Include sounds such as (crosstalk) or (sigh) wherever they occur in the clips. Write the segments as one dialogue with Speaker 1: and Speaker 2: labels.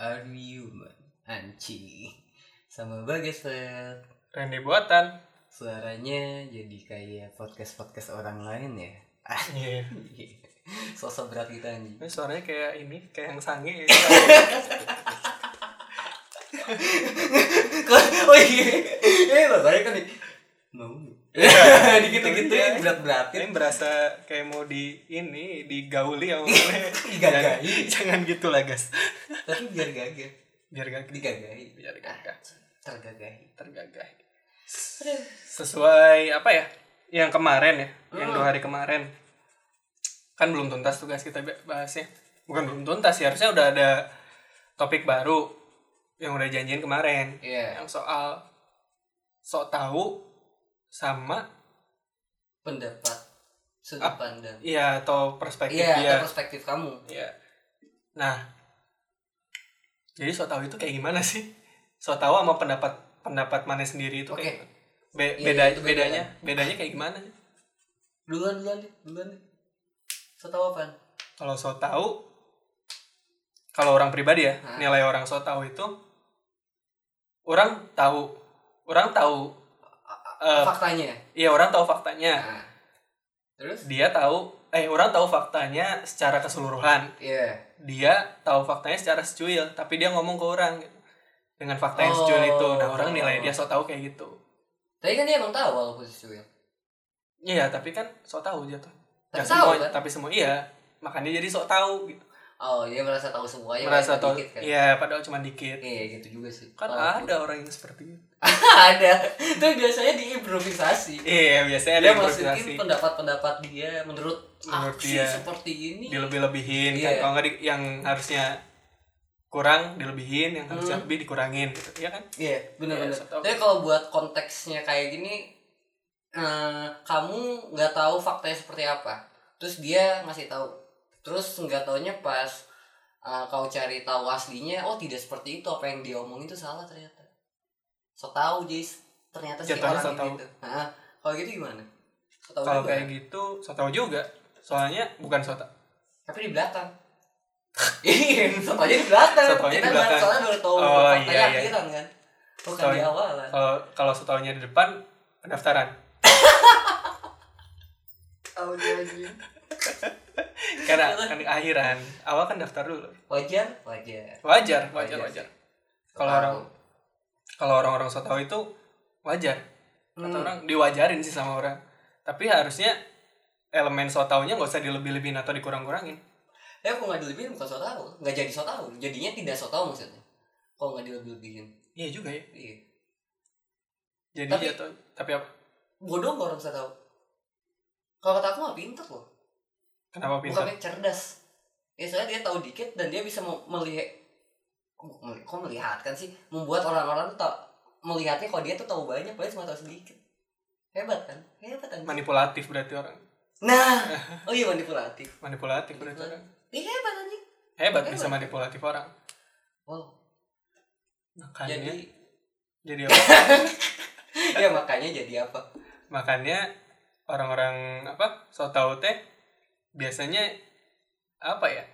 Speaker 1: Human Anjing Sama Bagesel
Speaker 2: Randy buatan.
Speaker 1: Suaranya jadi kayak podcast-podcast orang lain ya (laughs)
Speaker 2: Iya.
Speaker 1: Sosok berat kita anjing
Speaker 2: Ini suaranya kayak ini, kayak yang sange. ya.
Speaker 1: Oh iya Eh lo tanya kan nih Mau (laughs)
Speaker 2: Iya.
Speaker 1: Dikit-gitu ya berat-beratin
Speaker 2: ini berasa kayak mau di ini digauli ya ngomongnya.
Speaker 1: Digagai.
Speaker 2: Jangan- Jangan gitu lah guys.
Speaker 1: Tapi biar gagah
Speaker 2: Biar gak
Speaker 1: Digagai
Speaker 2: biar gagah
Speaker 1: Tergagai
Speaker 2: tergagah. Sesuai apa ya? Yang kemarin ya, yang dua hari kemarin. Kan belum tuntas tugas kita be- bahasnya. Bukan belum tuntas ya, harusnya udah ada topik baru yang udah janjiin kemarin.
Speaker 1: Iya
Speaker 2: yang soal sok tahu sama
Speaker 1: Pendapat Sudut pandang
Speaker 2: ya atau perspektif
Speaker 1: Iya
Speaker 2: dia
Speaker 1: atau perspektif kamu
Speaker 2: Iya. nah jadi sok tahu itu kayak gimana sih sok tahu sama pendapat pendapat mana sendiri itu
Speaker 1: Oke.
Speaker 2: kayak gimana? Be-
Speaker 1: Iya,
Speaker 2: beda
Speaker 1: itu beda
Speaker 2: bedanya bedanya kayak gimana
Speaker 1: Duluan duluan deh Duluan deh So tau apaan?
Speaker 2: kalau sok tahu kalau orang pribadi ya
Speaker 1: Hah?
Speaker 2: nilai orang sok tahu itu orang tahu orang tahu eh,
Speaker 1: Faktanya
Speaker 2: iya orang tahu faktanya
Speaker 1: Nah, terus
Speaker 2: dia tahu eh orang tahu faktanya secara keseluruhan
Speaker 1: ya
Speaker 2: dia tahu faktanya secara secuil tapi dia ngomong ke orang gitu. dengan fakta yang secuil
Speaker 1: Oh.
Speaker 2: itu nah orang nilai dia so tahu kayak gitu
Speaker 1: tapi kan dia emang tahu walaupun sesuai
Speaker 2: iya tapi kan so tahu jatuh
Speaker 1: tapi
Speaker 2: Nggak
Speaker 1: tahu
Speaker 2: semua-
Speaker 1: kan
Speaker 2: tapi semua iya makanya jadi so tahu gitu
Speaker 1: oh dia merasa tahu semuanya
Speaker 2: merasa
Speaker 1: walaupun
Speaker 2: tahu
Speaker 1: dikit kan iya
Speaker 2: iya padahal cuma dikit
Speaker 1: gitu juga sih
Speaker 2: kan
Speaker 1: Walaupun-
Speaker 2: ada orang yang seperti itu
Speaker 1: (laughs) ada itu biasanya diimprovisasi
Speaker 2: iya biasanya ada
Speaker 1: dia
Speaker 2: yang improvisasi
Speaker 1: masukin pendapat-pendapat dia menurut
Speaker 2: Menurut
Speaker 1: aksi
Speaker 2: dia.
Speaker 1: seperti ini
Speaker 2: dilebih-lebihin
Speaker 1: Iya.
Speaker 2: kan kalau nggak di- yang harusnya kurang dilebihin yang harusnya
Speaker 1: Hmm.
Speaker 2: lebih dikurangin gitu iya kan
Speaker 1: iya benar-benar
Speaker 2: Iya, so tau.
Speaker 1: tapi kalau buat konteksnya kayak gini eh, kamu nggak tahu faktanya seperti apa terus dia ngasih tahu terus nggak taunya pas eh, kau cari tahu aslinya oh tidak seperti itu apa yang dia omongin itu salah ternyata so tahu Jis ternyata si
Speaker 2: Jatuhnya
Speaker 1: orang
Speaker 2: so
Speaker 1: ini
Speaker 2: tau.
Speaker 1: itu Nah, kalau gitu gimana so tau
Speaker 2: kalau
Speaker 1: juga.
Speaker 2: kayak gitu so tau juga soalnya bukan so tau
Speaker 1: tapi di belakang (laughs) iya soalnya di belakang
Speaker 2: So taunya
Speaker 1: kita
Speaker 2: di
Speaker 1: nggak-
Speaker 2: belakang.
Speaker 1: soalnya baru tahu
Speaker 2: Oh,
Speaker 1: faktanya
Speaker 2: iya, iya.
Speaker 1: akhiran kan bukan
Speaker 2: So-
Speaker 1: di awalan
Speaker 2: kalau kalau setahunnya di depan pendaftaran
Speaker 1: Oh, jadi.
Speaker 2: karena
Speaker 1: (laughs)
Speaker 2: kan akhiran awal kan daftar dulu
Speaker 1: wajar wajar
Speaker 2: wajar
Speaker 1: Wajar Oh, iya
Speaker 2: wajar
Speaker 1: sih.
Speaker 2: wajar kalau
Speaker 1: Tahu.
Speaker 2: orang kalau orang-orang so tau itu wajar kata
Speaker 1: Hmm.
Speaker 2: orang diwajarin sih sama orang tapi harusnya elemen so taunya nggak usah dilebih-lebihin atau dikurang-kurangin
Speaker 1: Eh aku nggak dilebihin bukan so tau Nggak jadi so tau Jadinya tidak so tau maksudnya Kalau nggak dilebih-lebihin
Speaker 2: iya juga ya
Speaker 1: Iya
Speaker 2: jadi
Speaker 1: Tapi-
Speaker 2: jatuh tapi apa
Speaker 1: Bodoh nggak orang so tau Kalau kata aku mah pinter loh
Speaker 2: kenapa pintar
Speaker 1: Bukannya cerdas Ya soalnya dia tahu dikit Dan dia bisa mau melihat Kok melihatkan sih Membuat orang-orang tuh tau- Melihatnya kalau dia tuh tahu banyak Padahal cuma tahu sedikit Hebat kan Hebat kan
Speaker 2: manipulatif berarti orang
Speaker 1: Nah Oh iya manipulatif
Speaker 2: manipulatif berarti orang
Speaker 1: Ih hebat anjing
Speaker 2: hebat
Speaker 1: Hebat.
Speaker 2: bisa manipulatif orang
Speaker 1: Wow
Speaker 2: makanya
Speaker 1: Jadi (laughs)
Speaker 2: jadi apa
Speaker 1: Ya makanya jadi apa
Speaker 2: makanya orang-orang apa so tau teh biasanya apa ya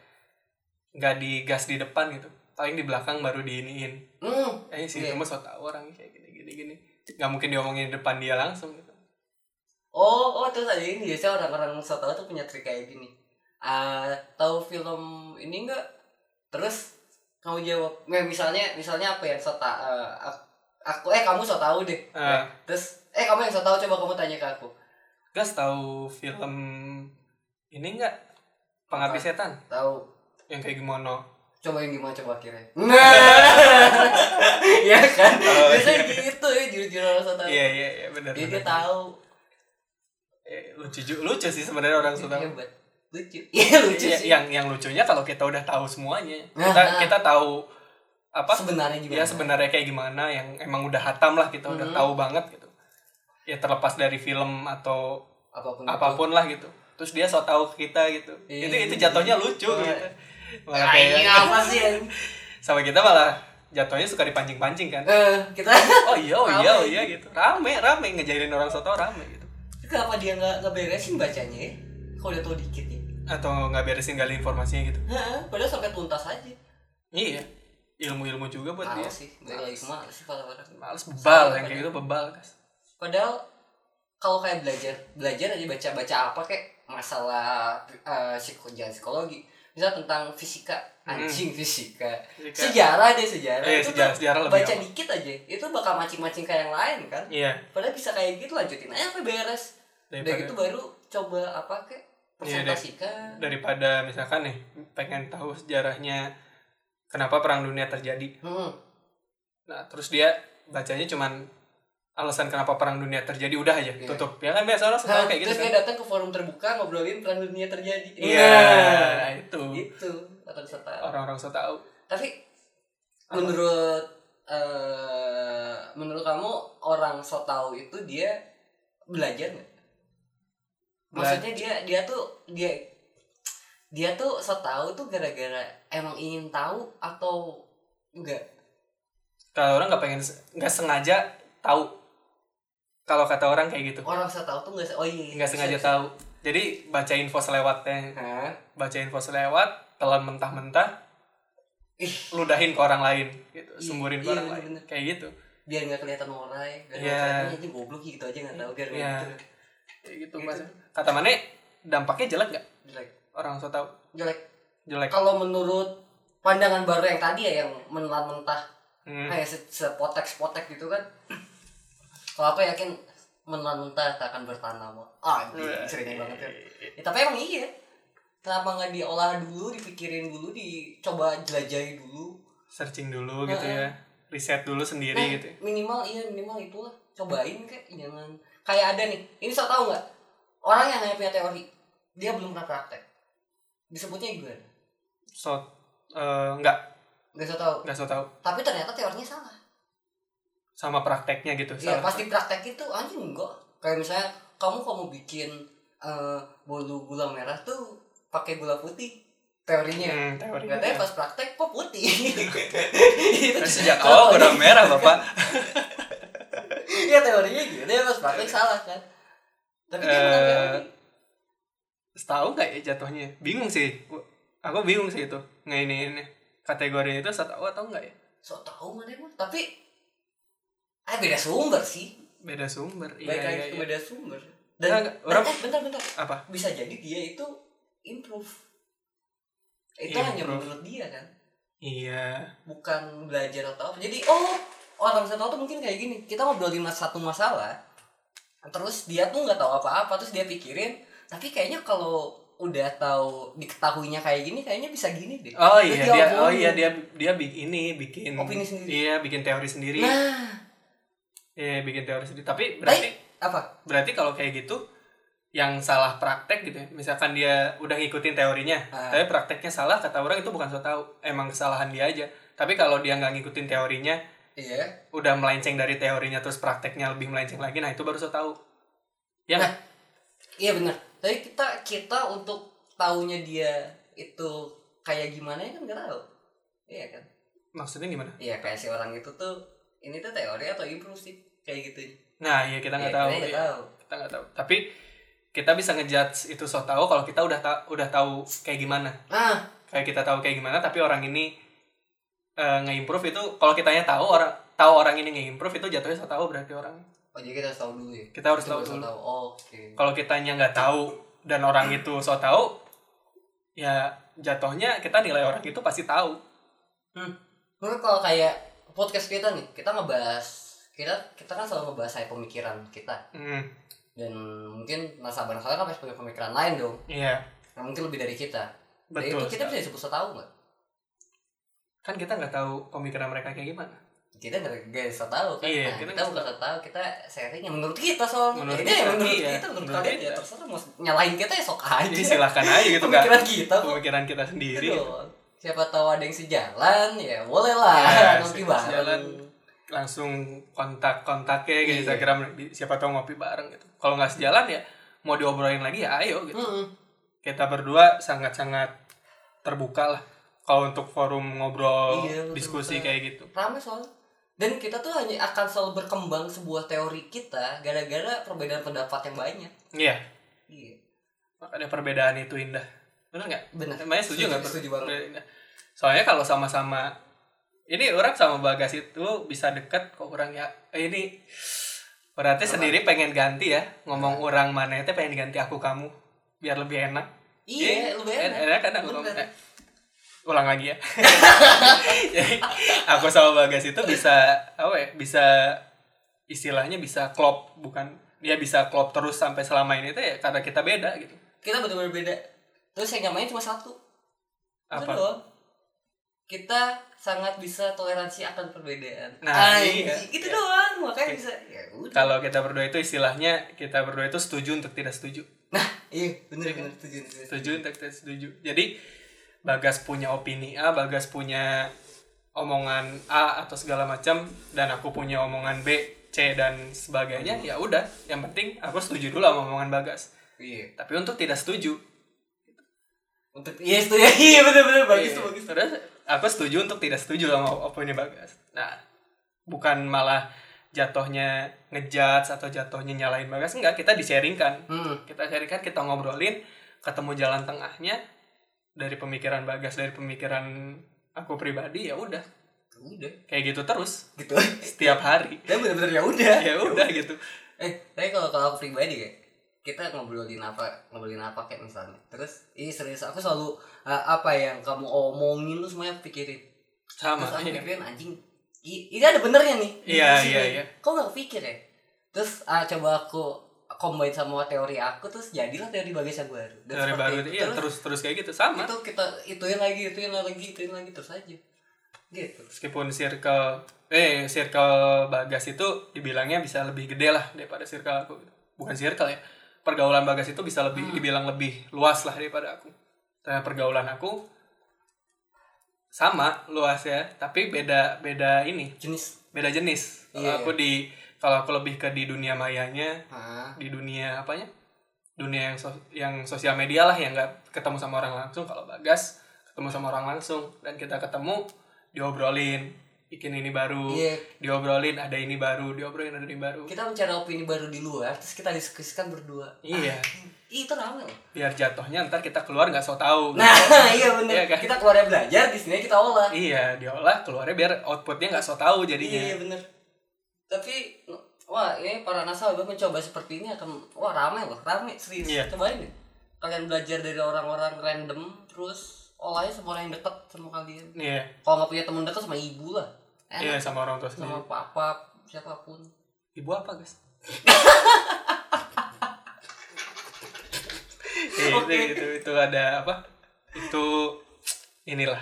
Speaker 2: nggak digas di depan gitu paling di belakang baru diiniin
Speaker 1: Hmm
Speaker 2: eh sih
Speaker 1: Iya.
Speaker 2: cuma so tau orang kayak gini gini gini nggak mungkin diomongin di depan dia langsung gitu
Speaker 1: Oh, oh terus ada ini biasanya orang-orang so tau tuh punya trik kayak gini. Ah, tahu film ini enggak? Terus kamu jawab, nah, misalnya misalnya apa ya? So ta- eh, ak- aku eh kamu so tau deh.
Speaker 2: Ah.
Speaker 1: Terus eh kamu yang so tau coba kamu tanya ke aku.
Speaker 2: gas tahu film ini nggak pengabdi setan
Speaker 1: Tahu
Speaker 2: yang kayak gimana
Speaker 1: coba yang gimana coba akhirnya. Nah. (laughs) ya kan?
Speaker 2: Oh,
Speaker 1: biasanya
Speaker 2: iya.
Speaker 1: gitu ya jujur orang so tau.
Speaker 2: iya iya iya benar
Speaker 1: Dia, dia
Speaker 2: benar.
Speaker 1: tahu
Speaker 2: Eh, lucu ju- lucu sih sebenarnya orang so tau
Speaker 1: hebat. Lucu. (laughs) Iya lucu
Speaker 2: Iya,
Speaker 1: sih.
Speaker 2: yang yang lucunya kalau kita udah tahu semuanya
Speaker 1: Nah.
Speaker 2: kita kita tahu apa
Speaker 1: sebenarnya juga.
Speaker 2: ya sebenarnya kayak gimana yang emang udah hatam lah kita udah
Speaker 1: Mhm.
Speaker 2: tahu banget gitu ya terlepas dari film atau
Speaker 1: apapun. itu.
Speaker 2: apapun lah gitu terus dia so tau ke kita gitu
Speaker 1: Iya,
Speaker 2: itu itu
Speaker 1: iya,
Speaker 2: jatuhnya
Speaker 1: iya.
Speaker 2: lucu
Speaker 1: Oh,
Speaker 2: gitu malah
Speaker 1: Ah,
Speaker 2: kayak
Speaker 1: ini apa sih? anjing?
Speaker 2: sama kita malah jatuhnya suka dipancing-pancing
Speaker 1: (laughs)
Speaker 2: kan
Speaker 1: Eh, kita
Speaker 2: oh iya oh
Speaker 1: Rame.
Speaker 2: iya oh iya gitu rame rame ngejailin orang so tau rame gitu
Speaker 1: Kenapa dia nggak nggak beresin bacanya ya? Kalau udah tau dikit ya.
Speaker 2: atau nggak beresin gali informasinya gitu
Speaker 1: Heeh, padahal sampai tuntas aja.
Speaker 2: iya ilmu-ilmu juga buat
Speaker 1: Males
Speaker 2: dia
Speaker 1: sih balik lagi ke males sih pada pada
Speaker 2: males bebal
Speaker 1: Soalnya
Speaker 2: yang kayak
Speaker 1: banyak.
Speaker 2: gitu bebal guys
Speaker 1: padahal kalau kayak belajar belajar aja baca baca apa kayak masalah eh, psiko- jangan psikologi misal tentang fisika anjing fisika
Speaker 2: Hmm. Fisika.
Speaker 1: sejarah deh sejarah
Speaker 2: Iya, Eh,
Speaker 1: Itu
Speaker 2: sejarah-
Speaker 1: tuh
Speaker 2: sejarah lebih
Speaker 1: baca
Speaker 2: apa?
Speaker 1: dikit aja itu bakal macing-macing kayak yang lain kan
Speaker 2: iya
Speaker 1: padahal bisa kayak gitu lanjutin aja sampai beres udah
Speaker 2: Daripada-
Speaker 1: gitu baru coba apa kayak
Speaker 2: Iya, deh.
Speaker 1: presentasikan
Speaker 2: daripada misalkan nih pengen tahu sejarahnya kenapa perang dunia terjadi
Speaker 1: hmm.
Speaker 2: nah terus dia bacanya cuman alasan kenapa perang dunia terjadi udah aja
Speaker 1: Iya.
Speaker 2: tutup ya kan biasa orang suka
Speaker 1: Hah,
Speaker 2: kayak gitu
Speaker 1: terus gitu.
Speaker 2: kan
Speaker 1: dia datang ke forum terbuka ngobrolin perang dunia terjadi
Speaker 2: iya Oh.
Speaker 1: Nah,
Speaker 2: itu
Speaker 1: itu kata peserta
Speaker 2: orang-orang suka tahu
Speaker 1: tapi
Speaker 2: Apa?
Speaker 1: menurut eh, menurut kamu orang so tahu itu dia belajar nggak maksudnya dia dia tuh dia dia tuh so tahu tuh gara-gara emang ingin tahu atau enggak
Speaker 2: kalau orang nggak pengen nggak sengaja tahu kalau kata orang kayak gitu
Speaker 1: orang so tahu tuh nggak se- oh iya
Speaker 2: nggak
Speaker 1: bisa,
Speaker 2: sengaja
Speaker 1: bisa.
Speaker 2: tahu jadi baca info selewatnya
Speaker 1: Hah?
Speaker 2: baca info selewat telan mentah-mentah
Speaker 1: Ih.
Speaker 2: ludahin ke orang lain gitu
Speaker 1: Iya,
Speaker 2: sumburin
Speaker 1: iya,
Speaker 2: ke orang lain
Speaker 1: bener.
Speaker 2: kayak gitu
Speaker 1: biar nggak kelihatan orang biar
Speaker 2: Iya.
Speaker 1: yeah. ini goblok gitu aja nggak tahu gara-gara
Speaker 2: Iya.
Speaker 1: gitu
Speaker 2: kayak gitu
Speaker 1: Gitu.
Speaker 2: mas kata mana dampaknya jelek nggak
Speaker 1: jelek
Speaker 2: orang so tahu
Speaker 1: jelek
Speaker 2: jelek
Speaker 1: kalau menurut pandangan baru yang tadi ya yang mentah-mentah
Speaker 2: Hmm.
Speaker 1: kayak se- sepotek-potek gitu kan kalau aku yakin mentah-mentah tak akan bertanam ah
Speaker 2: Wih.
Speaker 1: sering banget kan ya, tapi emang iya kenapa nggak diolah dulu dipikirin dulu dicoba jelajahi dulu
Speaker 2: searching dulu gitu ya riset dulu sendiri
Speaker 1: Nah,
Speaker 2: gitu
Speaker 1: minimal iya minimal itulah cobain kayak jangan kayak ada nih ini so tau nggak orang yang hanya punya teori dia belum pernah praktek disebutnya gimana
Speaker 2: so eh, nggak
Speaker 1: nggak so tau
Speaker 2: nggak so tahu
Speaker 1: tapi ternyata teorinya salah
Speaker 2: sama prakteknya gitu
Speaker 1: Iya
Speaker 2: salah.
Speaker 1: pasti praktek itu anjing enggak kayak misalnya kamu kalau mau bikin eh, bolu gula merah tuh pakai gula putih teorinya
Speaker 2: Hmm, teori
Speaker 1: katanya pas praktek kok
Speaker 2: (laughs)
Speaker 1: putih itu Iya,
Speaker 2: Terus ya
Speaker 1: (laughs)
Speaker 2: sejak awal udah merah bapak
Speaker 1: ya teorinya gitu ya pas praktek salah kan tapi dia
Speaker 2: Iya, Eh,
Speaker 1: bukan teori
Speaker 2: tahu nggak ya jatuhnya bingung sih aku bingung sih itu ngainin kategori itu so tahu atau nggak ya
Speaker 1: so tau mana emang tapi ah beda sumber sih
Speaker 2: beda sumber Iya,
Speaker 1: baik lagi ke beda sumber dan
Speaker 2: Nah, Nggak, nggak. Orang-
Speaker 1: eh, bentar bentar (laughs)
Speaker 2: apa
Speaker 1: bisa jadi dia itu improve itu hanya
Speaker 2: Improve.
Speaker 1: menurut dia kan
Speaker 2: iya
Speaker 1: bukan belajar atau apa jadi oh orang saya tahu tuh mungkin kayak gini kita ngobrolin mas satu masalah terus dia tuh nggak tahu apa-apa terus dia pikirin tapi kayaknya kalau udah tahu diketahuinya kayak gini kayaknya bisa gini deh
Speaker 2: oh
Speaker 1: Terus
Speaker 2: iya dia oh
Speaker 1: obrolin.
Speaker 2: iya dia dia bikin ini bikin
Speaker 1: Opini sendiri.
Speaker 2: iya bikin teori sendiri
Speaker 1: nah
Speaker 2: iya bikin teori sendiri
Speaker 1: tapi
Speaker 2: tapi berarti
Speaker 1: apa
Speaker 2: berarti kalau kayak gitu yang salah praktek gitu ya misalkan dia udah ngikutin teorinya
Speaker 1: Ah.
Speaker 2: tapi prakteknya salah kata orang itu bukan so tahu emang kesalahan dia aja tapi kalau dia nggak ngikutin teorinya
Speaker 1: iya
Speaker 2: udah melenceng dari teorinya terus prakteknya lebih melenceng lagi nah itu baru so tahu ya
Speaker 1: Nah,
Speaker 2: nggak?
Speaker 1: iya benar tapi kita kita untuk taunya dia itu kayak gimana ya kan nggak tahu iya kan
Speaker 2: maksudnya gimana
Speaker 1: iya kayak si orang itu tuh ini tuh teori atau improve sih kayak gitu
Speaker 2: nah iya kita nggak
Speaker 1: Iya,
Speaker 2: tahu
Speaker 1: kita nggak
Speaker 2: iya.
Speaker 1: tahu
Speaker 2: kita nggak tahu tapi kita bisa ngejudge itu so tahu kalau kita udah ta- udah tahu kayak gimana
Speaker 1: ah
Speaker 2: kayak kita tahu kayak gimana tapi orang ini eh, nge-improve itu kalau kitanya tahu orang tahu orang ini nge-improve itu jatuhnya so tahu berarti orang
Speaker 1: Oh jadi kita harus tahu dulu ya.
Speaker 2: kita harus
Speaker 1: Kita
Speaker 2: tahu
Speaker 1: harus
Speaker 2: dulu
Speaker 1: tahu. Oh, Oke.
Speaker 2: kalau kitanya nggak tahu dan orang itu so tahu ya jatuhnya kita nilai orang itu pasti tahu
Speaker 1: Menurut kalau kayak podcast kita nih, kita ngebahas kita kita kan selalu ngebahas saya pemikiran kita
Speaker 2: hmm,
Speaker 1: dan mungkin nasabah nasabah kan pasti punya pemikiran lain dong.
Speaker 2: iya
Speaker 1: Nah, mungkin lebih dari kita. Dan
Speaker 2: betul
Speaker 1: Nah, itu kita
Speaker 2: sekali.
Speaker 1: bisa disebut so tahu nggak?
Speaker 2: kan kita nggak tahu pemikiran mereka kayak gimana (laughs)
Speaker 1: Kita nggak nggak so tahu kan?
Speaker 2: Iya,
Speaker 1: Nah,
Speaker 2: kita
Speaker 1: kita,
Speaker 2: nggak
Speaker 1: bukan so tahu, kita sharing yang menurut kita soalnya.
Speaker 2: Menurut
Speaker 1: Ini yang
Speaker 2: kita,
Speaker 1: menurut
Speaker 2: iya.
Speaker 1: kita, menurut,
Speaker 2: Menurut
Speaker 1: kalian ya
Speaker 2: kita.
Speaker 1: terserah mau nyalain kita ya sok aja.
Speaker 2: jadi silahkan aja gitu nggak
Speaker 1: pemikiran kita kok.
Speaker 2: pemikiran kita sendiri
Speaker 1: Itu doang. Siapa tahu ada yang sejalan ya boleh lah
Speaker 2: Ya,
Speaker 1: nanti
Speaker 2: se-
Speaker 1: bareng.
Speaker 2: sejalan. langsung kontak kontaknya ke
Speaker 1: Iya.
Speaker 2: Instagram di- siapa tahu ngopi bareng gitu kalau nggak sejalan ya mau diobrolin lagi ya ayo gitu
Speaker 1: Mm-mm.
Speaker 2: kita berdua sangat sangat terbuka lah kalau untuk forum ngobrol
Speaker 1: Iya, lu
Speaker 2: diskusi
Speaker 1: terbuka.
Speaker 2: kayak gitu
Speaker 1: rame soalnya dan kita tuh hanya akan selalu berkembang sebuah teori kita gara-gara perbedaan pendapat yang banyak
Speaker 2: iya
Speaker 1: iya
Speaker 2: makanya perbedaan itu indah benar nggak
Speaker 1: benar
Speaker 2: emangnya setuju nggak
Speaker 1: Nah, Setuju,
Speaker 2: per-
Speaker 1: setuju banget.
Speaker 2: perbedaan indah? soalnya kalau sama-sama ini orang sama Bagas itu bisa deket kok orang ya eh, ini berarti
Speaker 1: Apa?
Speaker 2: sendiri pengen ganti ya ngomong orang mana itu pengen ganti aku kamu biar lebih enak
Speaker 1: iya
Speaker 2: Jadi,
Speaker 1: lu bayar
Speaker 2: en-
Speaker 1: nggak?
Speaker 2: enak kan aku
Speaker 1: Bener.
Speaker 2: eh, ulang lagi ya (laughs) jadi aku sama Bagas itu bisa apa ya bisa istilahnya bisa klop bukan dia bisa klop terus sampai selama ini tuh ya karena kita beda gitu
Speaker 1: kita benar-benar beda terus yang nyamain cuma satu Itu
Speaker 2: apa
Speaker 1: doang. kita sangat bisa toleransi akan perbedaan
Speaker 2: Nah,
Speaker 1: Anjing,
Speaker 2: iya.
Speaker 1: itu
Speaker 2: Iya.
Speaker 1: doang makanya
Speaker 2: Oke.
Speaker 1: bisa ya udah
Speaker 2: kalau kita berdua itu istilahnya kita berdua itu setuju untuk tidak setuju
Speaker 1: iya bener bener setuju setuju, setuju.
Speaker 2: setuju tak tak setuju jadi bagas punya opini a bagas punya omongan a atau segala macam dan aku punya omongan b c dan sebagainya ya udah yang penting aku setuju dulu sama omongan bagas
Speaker 1: iya
Speaker 2: tapi untuk tidak setuju
Speaker 1: untuk iya setuju (laughs) iya bener bener bagus
Speaker 2: Iya.
Speaker 1: tuh bagus
Speaker 2: Terus aku setuju untuk tidak setuju sama opini bagas nah bukan malah jatuhnya ngejudge atau jatuhnya nyalain bagas enggak kita disharingkan
Speaker 1: hmm
Speaker 2: kita carikan kita ngobrolin ketemu jalan tengahnya dari pemikiran bagas dari pemikiran aku pribadi ya udah
Speaker 1: udah
Speaker 2: kayak gitu terus
Speaker 1: gitu
Speaker 2: setiap hari (laughs)
Speaker 1: dan bener-bener ya udah
Speaker 2: ya udah gitu
Speaker 1: eh tapi kalau kalau aku pribadi kayak kita ngobrolin apa ngobrolin apa kayak misalnya terus ini serius aku selalu eh, apa yang kamu omongin lu semuanya aku pikirin
Speaker 2: sama
Speaker 1: terus aku
Speaker 2: iya
Speaker 1: pikirin anjing i- ini ada benernya nih
Speaker 2: Iya,
Speaker 1: Di sini.
Speaker 2: iya, iya.
Speaker 1: kok nggak pikir ya terus ah, coba aku combine sama teori aku terus jadilah teori bagas yang baru Dan
Speaker 2: dari
Speaker 1: seperti
Speaker 2: baru
Speaker 1: itu.
Speaker 2: iya
Speaker 1: terus,
Speaker 2: terus terus kayak gitu sama
Speaker 1: itu kita ituin lagi ituin lagi ituin lagi terus aja gitu
Speaker 2: meskipun circle eh circle bagas itu dibilangnya bisa lebih gede lah daripada circle aku bukan circle ya pergaulan bagas itu bisa lebih
Speaker 1: Hmm.
Speaker 2: dibilang lebih luas lah daripada aku karena pergaulan aku sama luas ya tapi beda beda ini
Speaker 1: jenis
Speaker 2: beda jenis. Kalau
Speaker 1: Iya,
Speaker 2: aku di kalau aku lebih ke di dunia mayanya,
Speaker 1: ah
Speaker 2: di dunia apanya? Dunia yang sos- yang sosial media lah yang nggak ketemu sama orang langsung. Kalau Bagas ketemu sama orang langsung dan kita ketemu diobrolin, bikin ini baru,
Speaker 1: iya
Speaker 2: diobrolin ada ini baru, diobrolin ada ini baru.
Speaker 1: kita mencari opini baru di luar terus kita diskusikan berdua
Speaker 2: Iya,
Speaker 1: Ih, itu rame loh.
Speaker 2: biar jatuhnya ntar kita keluar nggak so
Speaker 1: (laughs)
Speaker 2: tahu.
Speaker 1: nah iya bener
Speaker 2: Iya kan?
Speaker 1: kita keluarnya belajar di sini kita olah
Speaker 2: Iya, diolah keluarnya biar outputnya nggak so tahu
Speaker 1: iya
Speaker 2: jadinya.
Speaker 1: iya bener tapi wah ini para nasabah mencoba seperti ini akan wah ramai loh ramai serius
Speaker 2: Iya.
Speaker 1: cobain deh kalian belajar dari orang-orang random terus olahnya sama orang yang dekat sama kalian
Speaker 2: Iya,
Speaker 1: kalau nggak punya teman dekat sama ibu lah
Speaker 2: iya
Speaker 1: enak
Speaker 2: sama orang tua sendiri.
Speaker 1: sama papa siapapun
Speaker 2: Ibu apa, guys? Eh, (laughs) itu, itu, itu ada apa? Itu inilah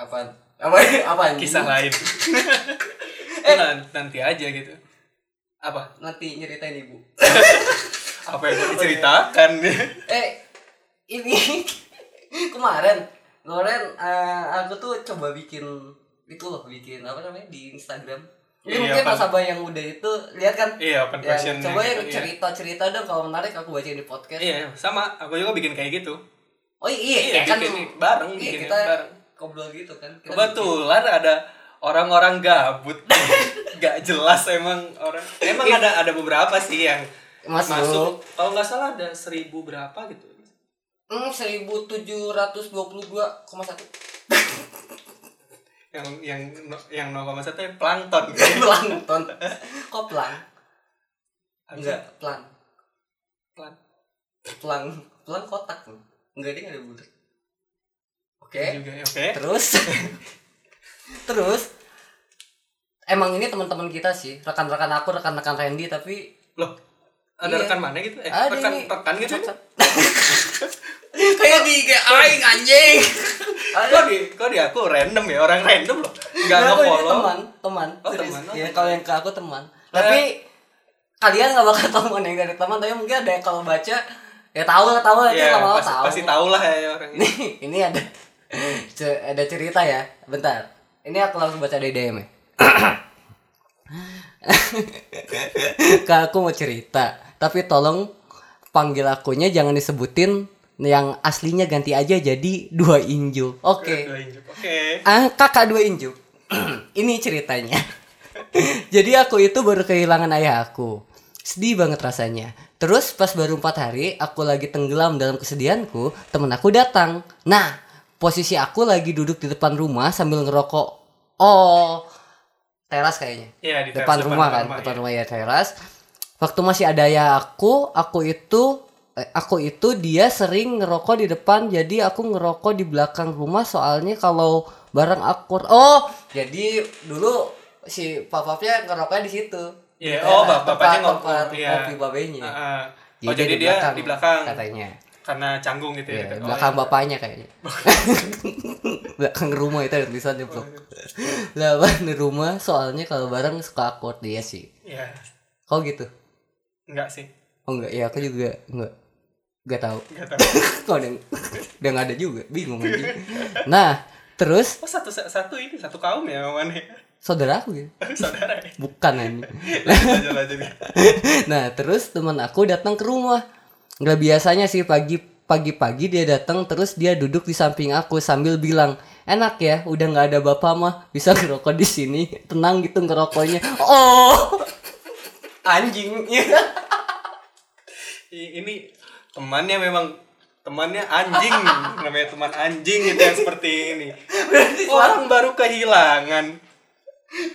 Speaker 1: apaan apa (laughs) apaan
Speaker 2: kisah (laughs) lain. Itu nan- nanti aja gitu. Apa?
Speaker 1: nanti nyeritain ibu
Speaker 2: Apa ya? yang mau diceritakan?
Speaker 1: eh ini (laughs) kemarin kemarin eh, aku tuh coba bikin itu loh bikin apa namanya di Instagram ini
Speaker 2: Iya,
Speaker 1: mungkin
Speaker 2: apa?
Speaker 1: nasabah yang udah itu lihat kan
Speaker 2: (laughs) iya, open
Speaker 1: ya,
Speaker 2: question.
Speaker 1: coba yang
Speaker 2: gitu,
Speaker 1: cerita cerita dong kalau menarik aku bacain di podcast
Speaker 2: Iya. Iya, sama. Aku juga bikin kayak gitu.
Speaker 1: oh iya,
Speaker 2: Iya,
Speaker 1: kan
Speaker 2: bikin bareng,
Speaker 1: iya,
Speaker 2: bikin
Speaker 1: kita
Speaker 2: bareng.
Speaker 1: ngobrol gitu kan kita
Speaker 2: Kebetulan ada orang-orang gabut. (laughs) Gak jelas emang orang. Emang ada ada beberapa sih yang
Speaker 1: bikin- masuk,
Speaker 2: masuk kalau nggak salah ada seribu berapa gitu
Speaker 1: Hmm, seribu tujuh ratus dua puluh dua koma satu (laughs)
Speaker 2: yang yang yang 0,1 yang plankton
Speaker 1: pelan ton kok pelan
Speaker 2: Harusnya
Speaker 1: enggak pelan
Speaker 2: plan
Speaker 1: pelan pelan kotak tuh enggak dia nggak ada bulat oke
Speaker 2: juga ya, oke
Speaker 1: terus (laughs) terus emang ini teman-teman kita sih rekan-rekan aku rekan-rekan Randy tapi
Speaker 2: loh ada
Speaker 1: Iya.
Speaker 2: rekan mana gitu eh
Speaker 1: Ada
Speaker 2: rekan
Speaker 1: ini.
Speaker 2: rekan gitu
Speaker 1: Cocok. (laughs) kayak di kayak aing anjing
Speaker 2: kok di kok di aku random ya orang random loh nggak
Speaker 1: Nah,
Speaker 2: nggak
Speaker 1: aku ini
Speaker 2: follow
Speaker 1: teman teman
Speaker 2: Oh,
Speaker 1: Serius.
Speaker 2: teman,
Speaker 1: ya
Speaker 2: oh, teman. Eh.
Speaker 1: kalau yang ke aku teman tapi kalian nggak bakal (laughs) tahu mana yang dari teman tapi mungkin ada yang kalau baca ya tahu lah tahu lah
Speaker 2: ya
Speaker 1: lama-lama
Speaker 2: pasti
Speaker 1: tahu
Speaker 2: pasti tahu lah ya orang ini
Speaker 1: Nih, ini ada ce- ada cerita ya. Bentar. Ini aku langsung baca dari DM. -nya. Kak aku mau cerita, tapi tolong panggil akunya jangan disebutin yang aslinya ganti aja jadi dua inju. Oke.
Speaker 2: dua injuk oke
Speaker 1: Ah, kakak dua inju. (clears throat) ini ceritanya. (laughs) jadi aku itu baru kehilangan ayah aku. Sedih banget rasanya. Terus pas baru empat hari, aku lagi tenggelam dalam kesedihanku, temen aku datang. Nah, posisi aku lagi duduk di depan rumah sambil ngerokok oh teras kayaknya
Speaker 2: Iya, di teras
Speaker 1: depan, rumah kan
Speaker 2: iya.
Speaker 1: depan rumah ya teras waktu masih ada ya aku aku itu eh, aku itu dia sering ngerokok di depan jadi aku ngerokok di belakang rumah soalnya kalau barang aku oh jadi dulu si papapnya ngerokoknya di situ
Speaker 2: Iya,
Speaker 1: Di
Speaker 2: oh,
Speaker 1: teras.
Speaker 2: bap- bapaknya ngopi,
Speaker 1: tempat
Speaker 2: iya.
Speaker 1: ngopi babenya
Speaker 2: Iya. Ah, ah. Oh, jadi, dia di belakang
Speaker 1: katanya
Speaker 2: karena canggung gitu ya.
Speaker 1: Iya,
Speaker 2: Oh,
Speaker 1: belakang bapaknya
Speaker 2: (laughs)
Speaker 1: kayaknya belakang rumah itu ada tulisannya
Speaker 2: Oh,
Speaker 1: blok
Speaker 2: iya.
Speaker 1: lah (laughs) di rumah soalnya kalau barang suka akut dia sih
Speaker 2: Iya.
Speaker 1: kau gitu
Speaker 2: Enggak sih.
Speaker 1: oh enggak ya aku juga enggak enggak tahu
Speaker 2: Enggak tahu.
Speaker 1: (laughs) kau ada yang- udah nggak ada juga bingung aja nah terus
Speaker 2: Oh, satu satu ini satu kaum ya mana?
Speaker 1: saudara aku gitu
Speaker 2: Saudara. ya?
Speaker 1: bukan ini
Speaker 2: Lanjut lanjut.
Speaker 1: (laughs) nah terus teman aku datang ke rumah nggak biasanya sih pagi pagi-pagi dia datang terus dia duduk di samping aku sambil bilang enak ya udah nggak ada bapak mah bisa ngerokok di sini (laughs) tenang gitu ngerokoknya oh anjing
Speaker 2: (laughs) I- Ini temannya memang temannya anjing namanya teman anjing gitu yang seperti ini orang baru kehilangan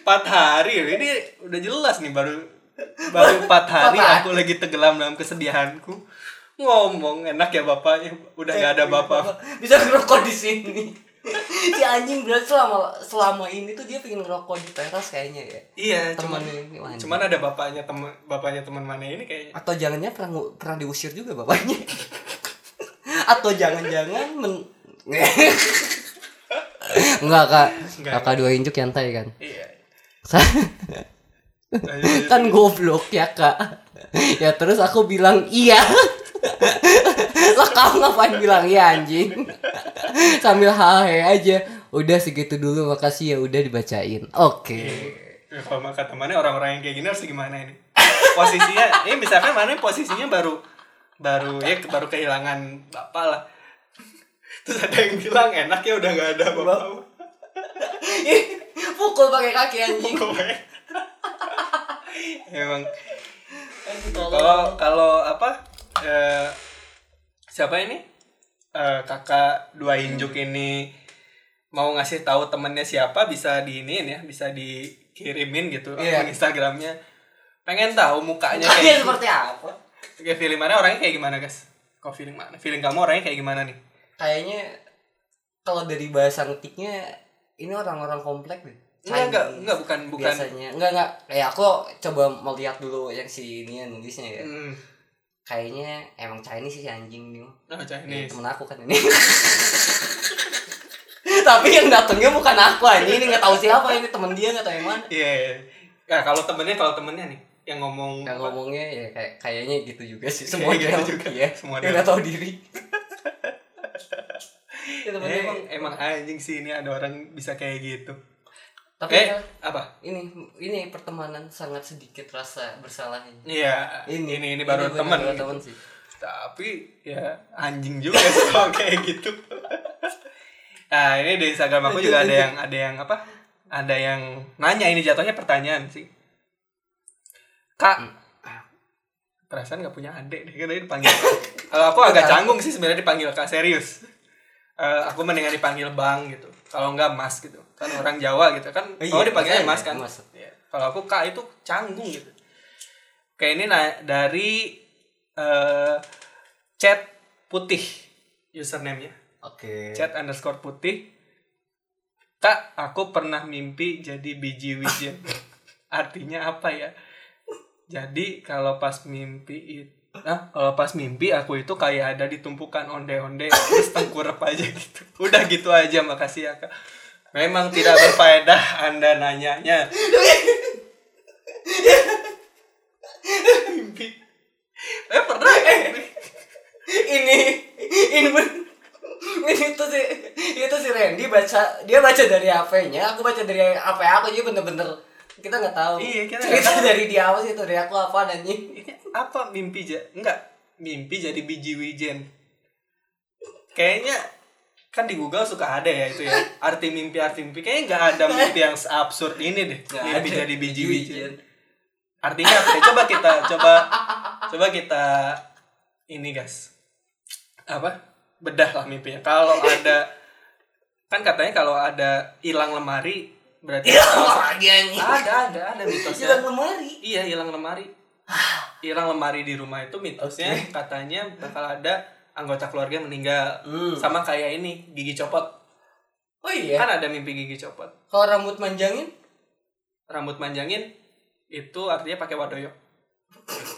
Speaker 2: empat hari ini udah jelas nih baru baru empat hari aku lagi tenggelam dalam kesedihanku ngomong enak ya bapaknya udah nggak ada bapak
Speaker 1: (laughs) bisa ngerokok di sini (laughs) si anjing berarti selama selama ini tuh dia pengen ngerokok di teras kayaknya ya
Speaker 2: iya cuman
Speaker 1: temannya ini anjing.
Speaker 2: cuman ada bapaknya teman bapaknya teman mana ini kayaknya
Speaker 1: atau jangannya pernah ngu- pernah diusir juga bapaknya (laughs) atau jangan-jangan men (laughs) Enggak kak
Speaker 2: Nggak,
Speaker 1: Kakak dua injuk nyantai kan
Speaker 2: iya
Speaker 1: (laughs) Kan goblok ya kak Ya terus aku bilang iya Lah kamu ngapain bilang iya anjing Sambil hahe aja Udah segitu dulu makasih ya udah dibacain Oke
Speaker 2: Ya, kalau maka temannya orang-orang yang kayak gini harus gimana ini posisinya ini misalkan mana posisinya baru baru ya ke- baru kehilangan bapak lah terus ada yang bilang enak ya udah nggak ada bapak
Speaker 1: Pukul pakai kaki anjing
Speaker 2: Gue. (laughs) emang kalau kalau apa eh, siapa ini Eh, kakak dua injuk ini mau ngasih tahu temennya siapa bisa diinin ya bisa dikirimin gitu
Speaker 1: Iya.
Speaker 2: akun Instagramnya pengen tahu (laughs) mukanya
Speaker 1: Kalian
Speaker 2: kayak
Speaker 1: seperti apa?
Speaker 2: Oke, feeling mana orangnya kayak gimana, guys? Kau feeling mana? Feeling kamu orangnya kayak gimana nih?
Speaker 1: kayaknya kalau dari bahasa ngetiknya ini orang-orang komplek deh.
Speaker 2: Enggak, enggak, enggak bukan bukan.
Speaker 1: Biasanya enggak enggak kayak aku coba melihat dulu yang si ini yang nulisnya ya.
Speaker 2: Hmm.
Speaker 1: Kayaknya emang Chinese sih si anjing nih.
Speaker 2: Oh,
Speaker 1: Ini
Speaker 2: Chinese.
Speaker 1: temen aku kan
Speaker 2: (laughs)
Speaker 1: ini. Tapi yang datangnya bukan aku anjing, ini enggak tahu siapa ini temen dia enggak tahu yang mana.
Speaker 2: Iya. iya. Ya, kalau temennya kalau temennya nih yang ngomong
Speaker 1: Yang ngomongnya ya kayak kayaknya gitu juga sih
Speaker 2: Kayak
Speaker 1: semua
Speaker 2: gitu
Speaker 1: dia
Speaker 2: juga.
Speaker 1: ya.
Speaker 2: Semua
Speaker 1: dia
Speaker 2: dia.
Speaker 1: enggak tahu
Speaker 2: (laughs)
Speaker 1: diri. ya, temen dia
Speaker 2: Eh,
Speaker 1: emang,
Speaker 2: emang anjing sih ini ada orang bisa kayak gitu.
Speaker 1: tapi
Speaker 2: eh,
Speaker 1: ya-
Speaker 2: apa?
Speaker 1: ini ini pertemanan sangat sedikit rasa bersalahnya
Speaker 2: Iya, ini ini, baru
Speaker 1: bener
Speaker 2: temen.
Speaker 1: baru temen sih
Speaker 2: Tapi ya anjing juga sih (laughs) kalau kayak gitu. Nah, ini di Instagram aku juga ada yang ada yang apa? Ada yang nanya ini jatuhnya pertanyaan sih. Kak, perasaan gak punya adik deh kan tadi dipanggil.
Speaker 1: (laughs)
Speaker 2: Kalau aku agak canggung sih sebenarnya dipanggil Kak serius. Eh, aku mendingan dipanggil Bang gitu. Kalau enggak Mas gitu. Kan orang Jawa gitu kan.
Speaker 1: Iya,
Speaker 2: Oh, dipanggilnya
Speaker 1: makanya,
Speaker 2: Mas kan.
Speaker 1: Mas.
Speaker 2: Iya. Kalau aku Kak itu canggung gitu. Kayak ini na- dari eh chat putih username-nya.
Speaker 1: oke
Speaker 2: Chat underscore putih. Kak, aku pernah mimpi jadi biji (laughs) wijen. Artinya apa ya? Jadi kalau pas mimpi itu Nah, kalau pas mimpi aku itu kayak ada ditumpukan onde-onde terus tengkurap aja gitu. Udah gitu aja, makasih ya kak. Memang tidak berfaedah Anda nanyanya. (laughs) mimpi. Eh pernah eh.
Speaker 1: ini ini ben- ini tuh si itu si Randy baca dia baca dari HP-nya aku baca dari HP aku jadi bener-bener kita nggak tahu
Speaker 2: Iya, kita nggak
Speaker 1: cerita
Speaker 2: tahu.
Speaker 1: dari dia apa sih itu dari aku apa anjing
Speaker 2: Ini apa mimpi ja enggak mimpi jadi biji wijen kayaknya kan di Google suka ada ya itu ya arti mimpi arti mimpi kayaknya nggak ada mimpi yang seabsurd ini deh
Speaker 1: Nggak
Speaker 2: mimpi
Speaker 1: ada.
Speaker 2: Iya, jadi biji
Speaker 1: Biji wijen.
Speaker 2: wijen artinya apa ya? coba kita coba coba kita ini guys apa bedah lah mimpinya kalau ada kan katanya kalau ada hilang lemari berarti
Speaker 1: Iya, lagi anjing.
Speaker 2: ada ada ada mitosnya
Speaker 1: Hilang lemari.
Speaker 2: Ah, iya hilang lemari hilang lemari di rumah itu
Speaker 1: Ah.
Speaker 2: mitosnya
Speaker 1: Oke.
Speaker 2: katanya bakal ada anggota keluarga meninggal
Speaker 1: Hmm.
Speaker 2: sama kayak ini gigi copot
Speaker 1: Oh iya.
Speaker 2: kan ada mimpi gigi copot
Speaker 1: Kalau rambut manjangin?
Speaker 2: rambut manjangin itu artinya pakai wadoyo (laughs)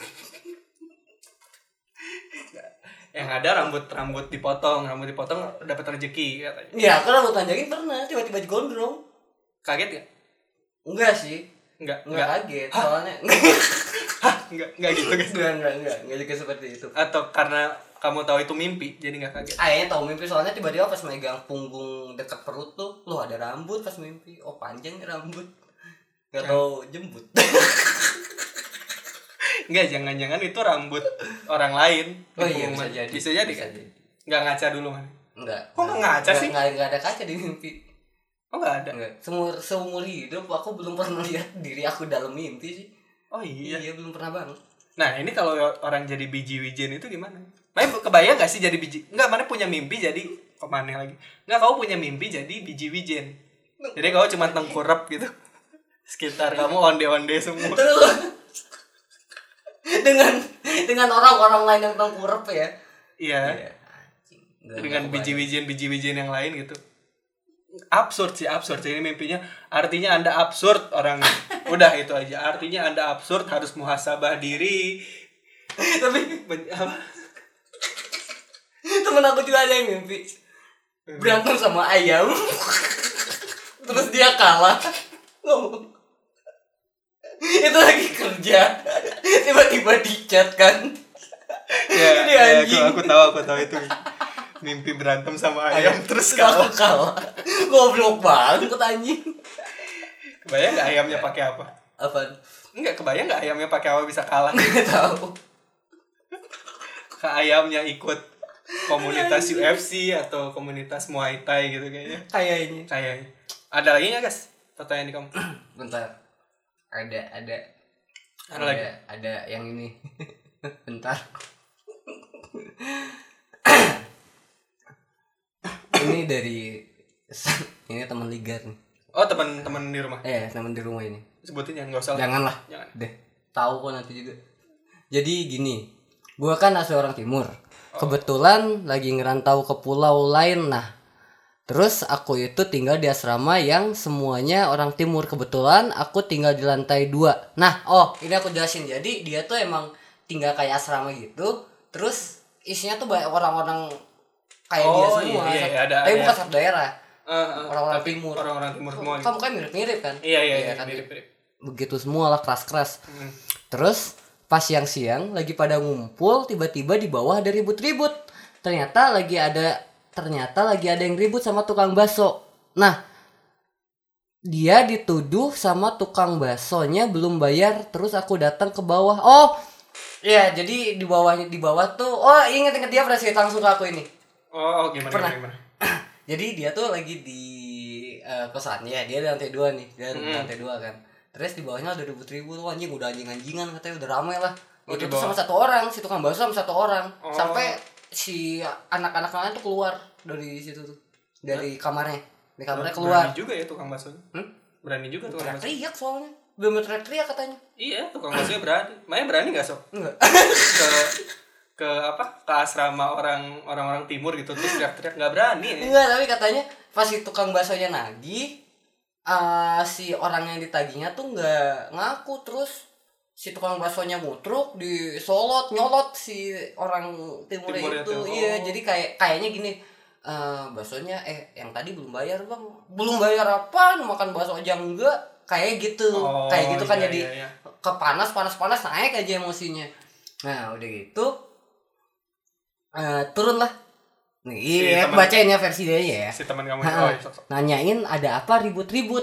Speaker 2: yang ada rambut rambut dipotong rambut dipotong dapat rezeki katanya
Speaker 1: Iya, aku rambut panjangin pernah tiba-tiba digondrong.
Speaker 2: kaget nggak
Speaker 1: Enggak sih,
Speaker 2: nggak
Speaker 1: enggak
Speaker 2: nggak
Speaker 1: kaget. Soalnya (laughs)
Speaker 2: Hah, nggak nggak gitu guys
Speaker 1: enggak enggak enggak enggak juga seperti itu.
Speaker 2: atau karena kamu tahu itu mimpi jadi nggak kaget
Speaker 1: Akhirnya tahu mimpi soalnya tiba-tiba pas megang punggung dekat perut tuh, lu ada rambut pas mimpi. Oh, panjang nih rambut. Gak tau jembut.
Speaker 2: nggak jangan-jangan itu rambut orang lain
Speaker 1: (laughs) Oh iya,
Speaker 2: Pengumuman.
Speaker 1: bisa jadi.
Speaker 2: bisa jadi
Speaker 1: Bisa
Speaker 2: kan
Speaker 1: jadi.
Speaker 2: nggak ngaca dulu kan
Speaker 1: Enggak.
Speaker 2: Kok nggak ngaca
Speaker 1: Enggak-
Speaker 2: sih?
Speaker 1: Enggak, enggak ada kaca di mimpi.
Speaker 2: oh nggak ada
Speaker 1: Enggak. Seumur seumur hidup aku belum pernah lihat diri aku dalam mimpi sih.
Speaker 2: oh iya
Speaker 1: Iya, belum pernah banget.
Speaker 2: nah ini kalau orang jadi biji wijen itu gimana Main kebayang gak sih jadi biji nggak mana punya mimpi jadi kemana lagi nggak kau punya mimpi jadi biji wijen jadi kau cuma tengkurap
Speaker 1: (laughs)
Speaker 2: gitu sekitar kamu onde-onde semua
Speaker 1: Terus (laughs) dengan dengan orang-orang lain yang tengkurap ya.
Speaker 2: iya
Speaker 1: Anjing. Nggak- nggak
Speaker 2: dengan
Speaker 1: kebayang.
Speaker 2: biji-bijian biji-bijian yang lain gitu absurd sih absurd jadi mimpinya artinya anda absurd (laughs) orang udah itu aja artinya anda absurd harus muhasabah diri
Speaker 1: (laughs) Tapi
Speaker 2: Men- apa?
Speaker 1: temen aku juga ada yang mimpi
Speaker 2: Hmm.
Speaker 1: berantem sama ayam. Terus dia kalah. Ngomong. Itu lagi kerja. Tiba-tiba dicat kan.
Speaker 2: (laughs) ya,
Speaker 1: Ini
Speaker 2: ya, aku,
Speaker 1: anjing.
Speaker 2: aku tahu aku tahu itu mimpi berantem sama ayam terus kalau
Speaker 1: Aku kalah. Goblok banget anjing.
Speaker 2: kebayang nggak ayamnya pakai apa
Speaker 1: Apaan?
Speaker 2: nggak kebayang nggak ayamnya pakai apa bisa kalah
Speaker 1: Nggak tahu.
Speaker 2: ke ayamnya ikut komunitas UFC atau komunitas Muay Thai gitu kayaknya
Speaker 1: Kayaknya.
Speaker 2: kayaknya ada lagi nggak guys pertanyaan di kamu
Speaker 1: Bentar. Ada ada
Speaker 2: ada lagi
Speaker 1: ada yang ini. (laughs) Bentar. ini dari (laughs) ini teman ligar nih.
Speaker 2: oh teman-teman di rumah
Speaker 1: Eh, teman di rumah ini.
Speaker 2: sebutin jangan nggak usah lah.
Speaker 1: Janganlah
Speaker 2: jangan
Speaker 1: deh. Tahu kok nanti juga. Jadi gini, gua kan asli orang timur. Kebetulan lagi ngerantau ke pulau lain nah. Terus aku itu tinggal di asrama yang semuanya orang timur kebetulan aku tinggal di lantai dua. Nah, oh ini aku jelasin. Jadi dia tuh emang tinggal kayak asrama gitu. Terus isinya tuh banyak orang-orang kayak dia
Speaker 2: Oh,
Speaker 1: semua. kan?
Speaker 2: iya, iya, ada-
Speaker 1: Tapi
Speaker 2: ada.
Speaker 1: bukan satu daerah.
Speaker 2: Eh, eh,
Speaker 1: Orang-orang
Speaker 2: tapi
Speaker 1: timur.
Speaker 2: orang-orang timur semua gitu.
Speaker 1: Kamu kan mirip-mirip kan?
Speaker 2: iya iya iya
Speaker 1: kan?
Speaker 2: mirip mirip
Speaker 1: Begitu semua lah keras-keras.
Speaker 2: Hmm.
Speaker 1: Terus pas siang-siang lagi pada ngumpul tiba-tiba di bawah ada ribut-ribut. Ternyata lagi ada ternyata lagi ada yang ribut sama tukang bakso. Nah, dia dituduh sama tukang baksonya belum bayar terus aku datang ke bawah. Oh, Iya, jadi di bawahnya di bawah tuh oh inget-inget dia pernah cerita langsung ke aku ini.
Speaker 2: oh oh, gimana
Speaker 1: Pernah.
Speaker 2: gimana, gimana?
Speaker 1: (coughs) jadi dia tuh lagi di eh, kosannya dia di lantai dua nih dia di
Speaker 2: Mm.
Speaker 1: lantai dua kan terus di bawahnya ada ribut-ribut Wah, anjing udah anjing anjingan katanya udah ramai lah
Speaker 2: Oh,
Speaker 1: itu
Speaker 2: di
Speaker 1: tuh
Speaker 2: bawah.
Speaker 1: sama satu orang si tukang bakso sama satu orang
Speaker 2: Oh.
Speaker 1: sampai si anak-anak lain tuh keluar dari situ tuh dari kamarnya di kamarnya keluar
Speaker 2: berani juga ya tukang baksonya
Speaker 1: Hmm?
Speaker 2: berani juga tukang bakso
Speaker 1: teriak soalnya belum teriak katanya
Speaker 2: iya tukang baksonya berani Maya berani nggak sok
Speaker 1: enggak
Speaker 2: ke ke apa ke asrama orang orang orang timur gitu terus teriak-teriak nggak berani ya.
Speaker 1: Enggak, tapi katanya pas si tukang baksonya nagih, eh, si orang yang ditagihnya tuh nggak ngaku terus si tukang baksonya mutruk disolot nyolot si orang timurnya,
Speaker 2: Timurnya
Speaker 1: itu
Speaker 2: tuh, oh.
Speaker 1: iya jadi kayak kayaknya gini eh baksonya eh yang tadi belum bayar bang belum bayar apa makan bakso aja enggak kayak gitu
Speaker 2: Oh,
Speaker 1: kayak gitu kan
Speaker 2: iya,
Speaker 1: jadi
Speaker 2: iya, iya.
Speaker 1: kepanas panas panas naik aja emosinya nah udah gitu eh turun lah nih
Speaker 2: Si
Speaker 1: iya
Speaker 2: teman-
Speaker 1: aku bacain ya versi dia ya
Speaker 2: si teman kamu
Speaker 1: Ha,
Speaker 2: oh, iya, sok, sok.
Speaker 1: nanyain ada apa ribut-ribut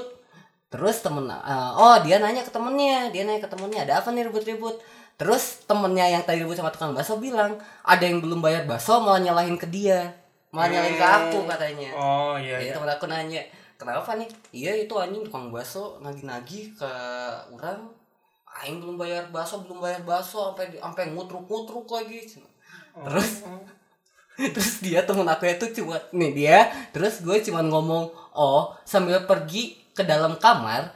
Speaker 1: terus temen eh, oh dia nanya ke temennya dia nanya ke temennya ada apa nih ribut-ribut terus temennya yang tadi ribut sama tukang bakso bilang ada yang belum bayar bakso malah nyalahin ke dia malah nyalahin ke
Speaker 2: Hmm.
Speaker 1: aku katanya
Speaker 2: oh iya
Speaker 1: jadi
Speaker 2: iya
Speaker 1: temen aku nanya kenapa nih iya itu anjing tukang bakso nagih-nagih ke orang aing belum bayar bakso belum bayar bakso sampai sampai ngutruk-ngutruk lagi terus (laughs)
Speaker 2: Oh.
Speaker 1: terus dia temen aku itu cuma nih dia terus gue cuma ngomong oh sambil pergi ke dalam kamar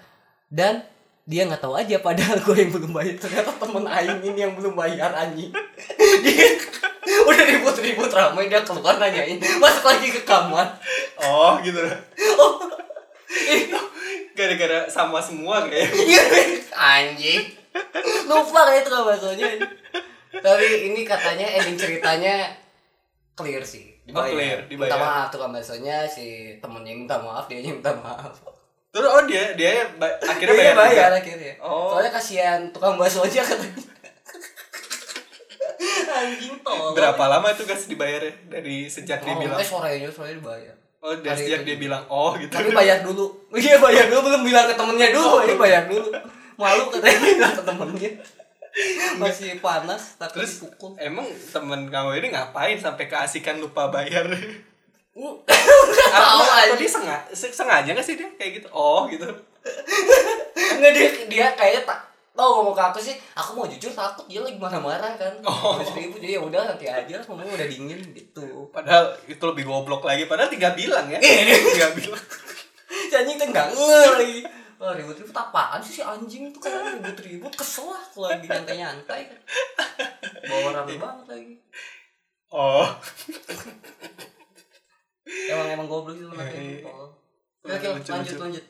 Speaker 1: dan dia nggak tahu aja padahal (laughs) gue yang belum bayar ternyata temen Aing ini yang belum bayar anjing (laughs) dia udah ribut-ribut ramai dia keluar nanyain masuk lagi ke kamar (laughs)
Speaker 2: oh gitu (laughs)
Speaker 1: oh itu
Speaker 2: gara-gara sama semua kayak
Speaker 1: Iya, anjing lupa kan itu bahasanya tapi ini katanya ending ceritanya clear sih
Speaker 2: Oh, clear,
Speaker 1: minta
Speaker 2: dibayar.
Speaker 1: maaf tuh bahasanya si temennya minta maaf dia minta maaf
Speaker 2: terus oh dia dia yang ba- akhirnya
Speaker 1: Iya,
Speaker 2: bayar, juga.
Speaker 1: akhirnya
Speaker 2: Oh.
Speaker 1: soalnya kasihan tukang bakso aja katanya anjing tolong
Speaker 2: Oh, berapa lama itu gas dibayarnya dari sejak dia
Speaker 1: oh,
Speaker 2: bilang
Speaker 1: eh, sorenya sorenya dibayar
Speaker 2: oh dari
Speaker 1: hari
Speaker 2: sejak
Speaker 1: itu
Speaker 2: dia bilang oh gitu
Speaker 1: tapi
Speaker 2: (laughs)
Speaker 1: bayar dulu (laughs) iya bayar dulu belum bilang ke temennya dulu ini bayar dulu malu katanya bilang ke temennya masih panas tapi
Speaker 2: Terus?
Speaker 1: dipukul
Speaker 2: emang temen kamu ini ngapain sampai keasikan lupa
Speaker 1: (laughs)
Speaker 2: bayar
Speaker 1: nggak tahu
Speaker 2: Apa- atau
Speaker 1: aja
Speaker 2: dia sengaja, sengaja gak sih dia kayak gitu oh gitu
Speaker 1: nggak dia dia kayaknya tak tau ngomong ke aku sih aku mau jujur takut dia lagi marah-marah kan
Speaker 2: Oh.
Speaker 1: terus ibu jadi ya udah nanti aja ngomongnya udah dingin
Speaker 2: (laughs)
Speaker 1: gitu
Speaker 2: padahal itu lebih goblok lagi padahal tinggal bilang
Speaker 1: (laughs)
Speaker 2: ya
Speaker 1: Iya.
Speaker 2: tinggal bilang
Speaker 1: si anjing tuh nggak ngeh lagi Wah, ribut-ribut apaan sih si anjing tuh kan ribut-ribut kesel aku lagi nyantai-nyantai
Speaker 2: (laughs)
Speaker 1: kan bawa rame banget lagi
Speaker 2: oh
Speaker 1: emang emang goblok sih
Speaker 2: Iya,
Speaker 1: anaknya
Speaker 2: iya.
Speaker 1: Oh.
Speaker 2: Lucu,
Speaker 1: oke
Speaker 2: lucu,
Speaker 1: lanjut
Speaker 2: lucu.
Speaker 1: lanjut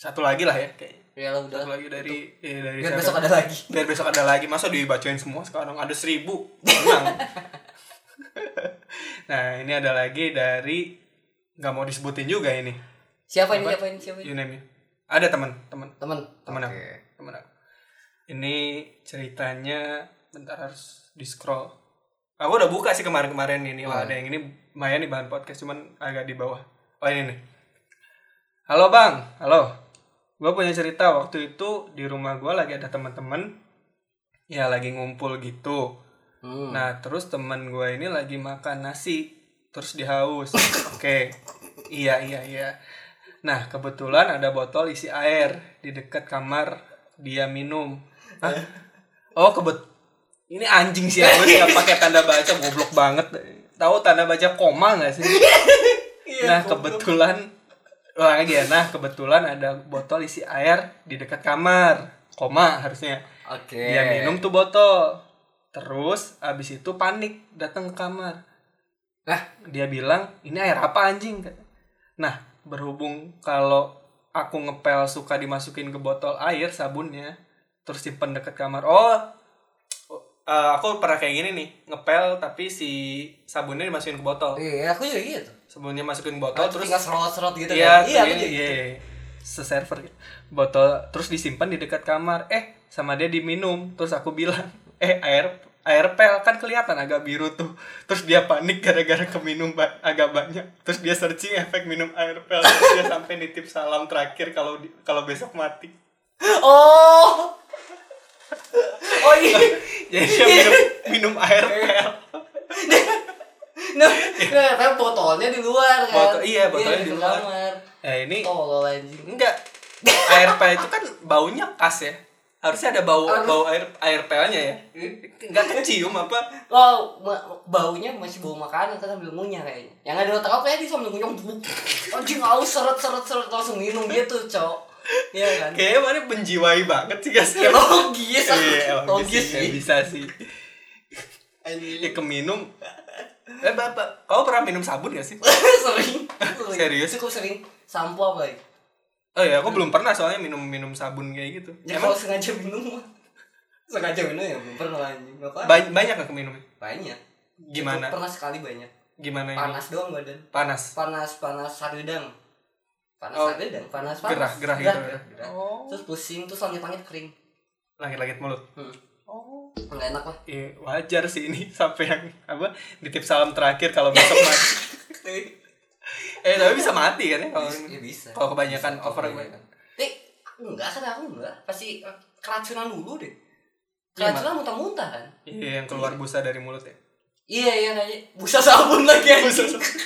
Speaker 2: satu lagi lah ya kayaknya
Speaker 1: ya lah
Speaker 2: satu
Speaker 1: udah
Speaker 2: lagi dari eh, dari
Speaker 1: biar
Speaker 2: siapa?
Speaker 1: besok ada lagi
Speaker 2: biar besok ada lagi masa dibacain semua sekarang ada seribu
Speaker 1: (laughs)
Speaker 2: orang nah ini ada lagi dari nggak mau disebutin juga ini
Speaker 1: siapa ini
Speaker 2: Apa?
Speaker 1: siapa ini siapa ini
Speaker 2: you name it. ada teman teman
Speaker 1: teman
Speaker 2: teman Iya. aku teman aku ini ceritanya bentar harus di scroll aku udah buka sih kemarin-kemarin ini wah
Speaker 1: Hmm.
Speaker 2: ada yang ini lumayan di bahan podcast cuman agak di bawah oh ini nih halo bang halo gue punya cerita waktu itu di rumah gue lagi ada teman-teman ya lagi ngumpul gitu
Speaker 1: hmm.
Speaker 2: Nah, terus teman gue ini lagi makan nasi, terus dia haus. Oke. Iya, iya, iya. Nah, kebetulan ada botol isi air di dekat kamar dia minum. Hah? Oh, kebet ini anjing sih gue nggak pakai tanda baca goblok banget. Tahu tanda baca koma nggak sih? nah, kebetulan Wah, lagi ya. Nah, kebetulan ada botol isi air di dekat kamar. Koma harusnya
Speaker 1: oke
Speaker 2: dia Iya, minum tuh botol terus abis itu panik datang ke kamar nah dia bilang ini air apa anjing nah berhubung kalau aku ngepel suka dimasukin ke botol air sabunnya terus simpen deket kamar oh eh, aku pernah kayak gini nih ngepel tapi si sabunnya dimasukin ke botol
Speaker 1: iya aku juga gitu
Speaker 2: sabunnya masukin botol
Speaker 1: terus
Speaker 2: Oh, terus
Speaker 1: tinggal serot-serot gitu
Speaker 2: iya,
Speaker 1: kan iya aku
Speaker 2: iya,
Speaker 1: juga
Speaker 2: iya, iya. Seserver gitu. Botol terus disimpan di dekat kamar. Eh, sama dia diminum. Terus aku bilang, (laughs) "Eh, air air pel kan kelihatan agak biru tuh." Terus dia panik gara-gara keminum ba- agak banyak. Terus dia searching efek minum air pel. Terus dia sampai nitip salam terakhir kalau di- kalau besok mati. (laughs)
Speaker 1: oh oh iya
Speaker 2: Jadi dia minum, minum air pel.
Speaker 1: nah, nah tapi botolnya di luar kan
Speaker 2: Botol- iya, botolnya di
Speaker 1: dekat
Speaker 2: luar.
Speaker 1: kamar
Speaker 2: Eh, ini
Speaker 1: tolol anjing
Speaker 2: enggak air pel itu kan baunya khas ya. Harusnya ada bau
Speaker 1: Harus.
Speaker 2: bau air air pelnya ya. Enggak kecium apa?
Speaker 1: Oh, ma- baunya masih bau makanan kan sambil ngunyah kayaknya. Yang ada otak apa ya dia sambil ngunyah. bluk. Anjing haus seret seret seret langsung minum dia tuh, Cok. Iya kan?
Speaker 2: Kayaknya mana penjiwai banget sih guys.
Speaker 1: Ya logis.
Speaker 2: Iya,
Speaker 1: logis
Speaker 2: bisa,
Speaker 1: sih.
Speaker 2: bisa sih. Ya keminum. Eh bapak, kau pernah minum sabun gak sih?
Speaker 1: (laughs) sering. sering.
Speaker 2: Serius?
Speaker 1: Cukup sering. Sampo apa ya?
Speaker 2: Oh iya, aku belum pernah soalnya minum minum sabun kayak gitu.
Speaker 1: Ya
Speaker 2: Emang
Speaker 1: kalau sengaja minum mah. Sengaja minum ya belum pernah anjing. Bapak
Speaker 2: ba- banyak gak keminumnya?
Speaker 1: banyak.
Speaker 2: Gimana? Iya.
Speaker 1: Cukup Pernah sekali banyak.
Speaker 2: Gimana ini?
Speaker 1: Panas doang badan.
Speaker 2: Panas.
Speaker 1: Panas panas saridang. Panas
Speaker 2: Oh.
Speaker 1: saridang, panas panas.
Speaker 2: Gerah, gerah gitu. ya?
Speaker 1: gerah.
Speaker 2: Oh.
Speaker 1: Terus pusing, terus langit-langit kering.
Speaker 2: Langit-langit mulut.
Speaker 1: Hmm.
Speaker 2: Oh.
Speaker 1: Enggak enak lah.
Speaker 2: Iya, wajar sih ini (laughs) sampai yang apa? Ditip salam terakhir kalau besok mati.
Speaker 1: (laughs)
Speaker 2: eh, tapi bisa mati kan ya kalau
Speaker 1: Bisa- ya bisa.
Speaker 2: kalau kebanyakan
Speaker 1: Bisa,
Speaker 2: over
Speaker 1: kalau
Speaker 2: kebanyakan.
Speaker 1: Eh, enggak kan aku enggak. Pasti eh, keracunan dulu deh.
Speaker 2: Iya, Mak.
Speaker 1: Keracunan muntah-muntah kan?
Speaker 2: Iya, yang keluar busa dari mulut ya.
Speaker 1: Iya, iya kayaknya. Busa sabun lagi
Speaker 2: Busa
Speaker 1: anjing. (laughs)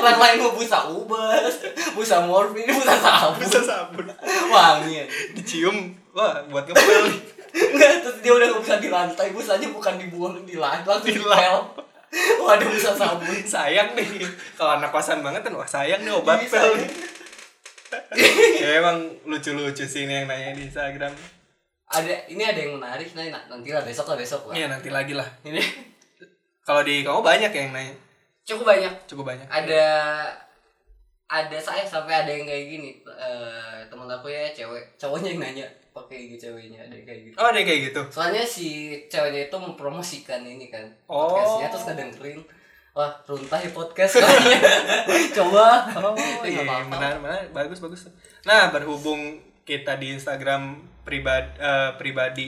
Speaker 1: Orang lain mau busa ubas, busa morfin, ini busa sabun.
Speaker 2: Busa sabun.
Speaker 1: Wangi. anjing.
Speaker 2: (laughs) dicium wah buat ngepel nih.
Speaker 1: Enggak, terus dia udah nggak bisa di lantai, busanya bukan dibuang di lantai, langsung
Speaker 2: Di
Speaker 1: di pel. Waduh, busa sabun.
Speaker 2: (laughs) sayang nih (laughs) kalau anak kosan banget kan wah sayang nih obat
Speaker 1: Iya,
Speaker 2: pel
Speaker 1: sayang.
Speaker 2: nih ya emang lucu-lucu sih ini yang nanya di Instagram
Speaker 1: ada ini ada yang menarik nanti nanti lah besok lah besok lah
Speaker 2: ya nanti lagi lah
Speaker 1: ini
Speaker 2: kalau di kamu banyak ya yang nanya
Speaker 1: cukup banyak
Speaker 2: cukup banyak
Speaker 1: ada ada saya sampai ada yang kayak gini Eh, temen aku ya cewek cowoknya yang nanya pakai IG ceweknya ada yang kayak gitu
Speaker 2: oh ada yang kayak gitu
Speaker 1: soalnya si ceweknya itu mempromosikan ini kan
Speaker 2: Oh.
Speaker 1: podcastnya terus kedengerin wah runtah ya podcast katanya. (laughs) coba
Speaker 2: oh
Speaker 1: Eh,
Speaker 2: (laughs) iya
Speaker 1: nggak apa-apa.
Speaker 2: benar benar bagus bagus nah berhubung kita di Instagram pribadi pribadi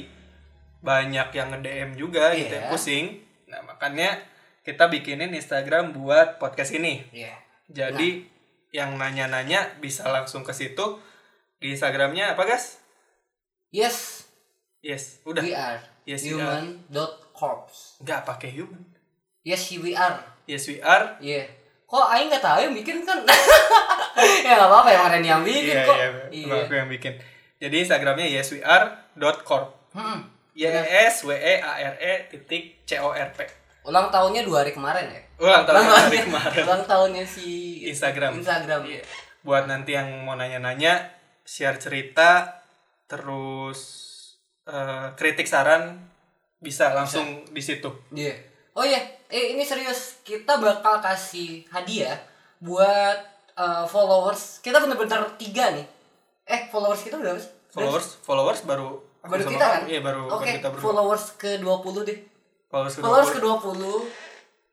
Speaker 2: banyak yang nge DM juga gitu ya,
Speaker 1: Iya.
Speaker 2: pusing nah makanya kita bikinin Instagram buat podcast ini
Speaker 1: Iya.
Speaker 2: jadi yang nanya-nanya bisa langsung ke situ di Instagramnya apa guys
Speaker 1: yes
Speaker 2: yes udah
Speaker 1: we are
Speaker 2: Yes, we are.
Speaker 1: human dot corpse
Speaker 2: nggak pakai human
Speaker 1: yes we are
Speaker 2: yes we are
Speaker 1: Iya. Kok Aing nggak tahu yang bikin kan? (laughs) ya nggak apa-apa yang Reni yang bikin
Speaker 2: iya
Speaker 1: kok.
Speaker 2: iya
Speaker 1: Iya.
Speaker 2: aku yang bikin jadi Instagramnya yes we are dot corp
Speaker 1: Hmm.
Speaker 2: Y S W E A R E titik C O R P.
Speaker 1: Ulang tahunnya dua hari kemarin ya.
Speaker 2: Ulang tahun
Speaker 1: Ulang
Speaker 2: hari
Speaker 1: tahunnya-
Speaker 2: kemarin.
Speaker 1: Ulang tahunnya si
Speaker 2: Instagram.
Speaker 1: Instagram.
Speaker 2: Iya. Buat nanti yang mau nanya-nanya, share cerita, terus eh, kritik saran bisa langsung di situ.
Speaker 1: Iya. Oh iya, eh ini serius. Kita bakal kasih hadiah buat eh, followers. Kita bener-bener tiga nih. Eh, followers kita berapa sih?
Speaker 2: Followers, followers baru aku
Speaker 1: Baru
Speaker 2: sama
Speaker 1: kita
Speaker 2: kamu.
Speaker 1: kan?
Speaker 2: Iya, baru baru
Speaker 1: Oke,
Speaker 2: kita berdua.
Speaker 1: followers ke 20 deh.
Speaker 2: Followers kedua.
Speaker 1: Followers ke 20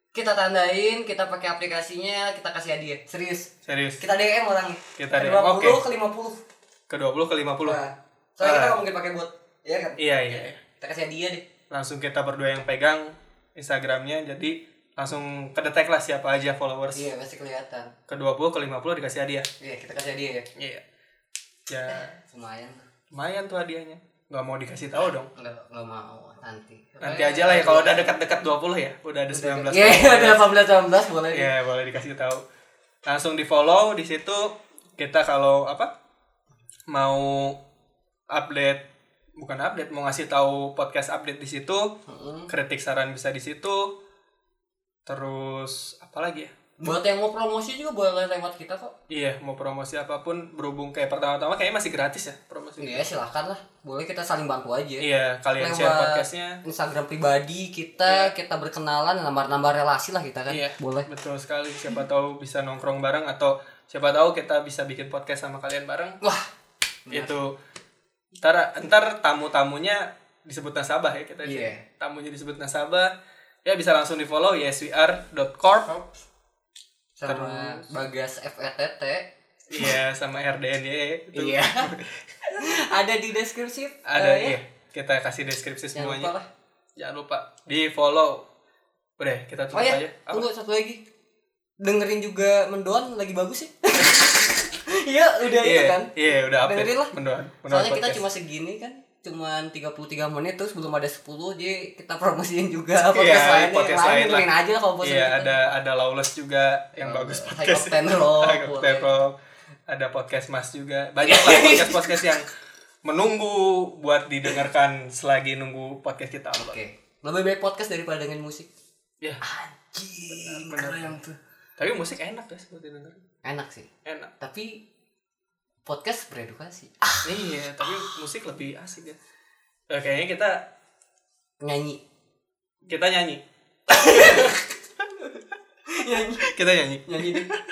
Speaker 1: kita tandain, kita pakai aplikasinya, kita kasih hadiah. Serius.
Speaker 2: Serius.
Speaker 1: Kita DM orangnya.
Speaker 2: Kita
Speaker 1: Ke
Speaker 2: DM,
Speaker 1: 20
Speaker 2: oke.
Speaker 1: ke 50.
Speaker 2: Ke 20 ke 50.
Speaker 1: Nah, soalnya kita
Speaker 2: Ah.
Speaker 1: nggak mungkin pakai bot. Iya kan?
Speaker 2: Iya, iya. iya.
Speaker 1: Kita kasih hadiah deh.
Speaker 2: Langsung kita berdua yang pegang Instagramnya jadi langsung kedetek lah siapa aja followers
Speaker 1: Iya, pasti kelihatan.
Speaker 2: ke 20 ke 50 dikasih hadiah.
Speaker 1: Iya, kita kasih hadiah ya.
Speaker 2: Iya. Ya.
Speaker 1: Lumayan.
Speaker 2: Lumayan tuh hadiahnya. Nggak mau dikasih tahu dong.
Speaker 1: Enggak enggak mau nanti.
Speaker 2: Nanti aja lah ya kalau udah dekat-dekat 20 ya. Udah ada 19.
Speaker 1: Iya, udah 18 19 boleh. deh.
Speaker 2: Ya, boleh dikasih tahu. Langsung di-follow di situ kita kalau apa? Mau update bukan update mau ngasih tahu podcast update di situ,
Speaker 1: Mm-mm.
Speaker 2: kritik saran bisa di situ. Terus apa lagi ya?
Speaker 1: Buat yang mau promosi juga boleh lewat kita kok.
Speaker 2: Iya, mau promosi apapun berhubung kayak pertama-tama kayaknya masih gratis ya promosi.
Speaker 1: Iya, silahkan lah. Boleh kita saling bantu aja.
Speaker 2: Iya, kalian share
Speaker 1: Lewat-
Speaker 2: podcastnya.
Speaker 1: Instagram pribadi kita, kita berkenalan, nambah-nambah relasi lah kita kan.
Speaker 2: Iya.
Speaker 1: Boleh.
Speaker 2: Betul sekali. Siapa tahu bisa nongkrong bareng atau siapa tahu kita bisa bikin podcast sama kalian bareng.
Speaker 1: Wah, Iya.
Speaker 2: Itu ntar ntar tamu-tamunya disebut nasabah ya kita.
Speaker 1: Iya.
Speaker 2: Tamunya disebut nasabah. Ya bisa langsung di follow yeswr.corp.
Speaker 1: sama Bagas FETT.
Speaker 2: Iya sama RDNY itu.
Speaker 1: Iya. (laughs) Ada di deskripsi. eh, ya.
Speaker 2: Ada iya. Kita kasih deskripsi
Speaker 1: Jangan lupa
Speaker 2: semuanya.
Speaker 1: lah.
Speaker 2: Jangan lupa di follow. Udah, kita
Speaker 1: Oh
Speaker 2: tutup
Speaker 1: ya,
Speaker 2: aja. Apa?
Speaker 1: tunggu satu lagi. Dengerin juga mendoan lagi bagus sih. (laughs) Iya, udah
Speaker 2: Iya,
Speaker 1: itu kan.
Speaker 2: iya udah update.
Speaker 1: Dengerin lah.
Speaker 2: Mendoan. Mendoan
Speaker 1: Soalnya kita
Speaker 2: podcast.
Speaker 1: cuma segini kan. Cuman 33 menit terus belum ada 10 jadi kita promosiin juga podcast
Speaker 2: Iya,
Speaker 1: lain.
Speaker 2: podcast
Speaker 1: yang
Speaker 2: lain
Speaker 1: lain
Speaker 2: lah.
Speaker 1: dengerin aja Iya, lah kalau bosan
Speaker 2: Iya
Speaker 1: kita.
Speaker 2: ada ada Lawless juga yang bagus
Speaker 1: High
Speaker 2: podcast.
Speaker 1: Octane Rock,
Speaker 2: (laughs) High Octane
Speaker 1: boleh.
Speaker 2: Rock. Ada podcast Mas juga. Banyak (laughs) lah podcast podcast yang menunggu buat didengarkan selagi nunggu podcast kita upload.
Speaker 1: Oke. Lebih baik podcast daripada dengerin musik.
Speaker 2: Ya,
Speaker 1: Anjing,
Speaker 2: Benar, benar.
Speaker 1: keren tuh.
Speaker 2: tapi musik enak guys buat didengar.
Speaker 1: Enak sih.
Speaker 2: Enak.
Speaker 1: Tapi podcast beredukasi. Ah,
Speaker 2: Iya, tapi musik lebih asik ya. Oke, kayaknya kita
Speaker 1: Nyanyi.
Speaker 2: kita nyanyi.
Speaker 1: Nyanyi.
Speaker 2: Kita (laughs) nyanyi.
Speaker 1: Nyanyi deh.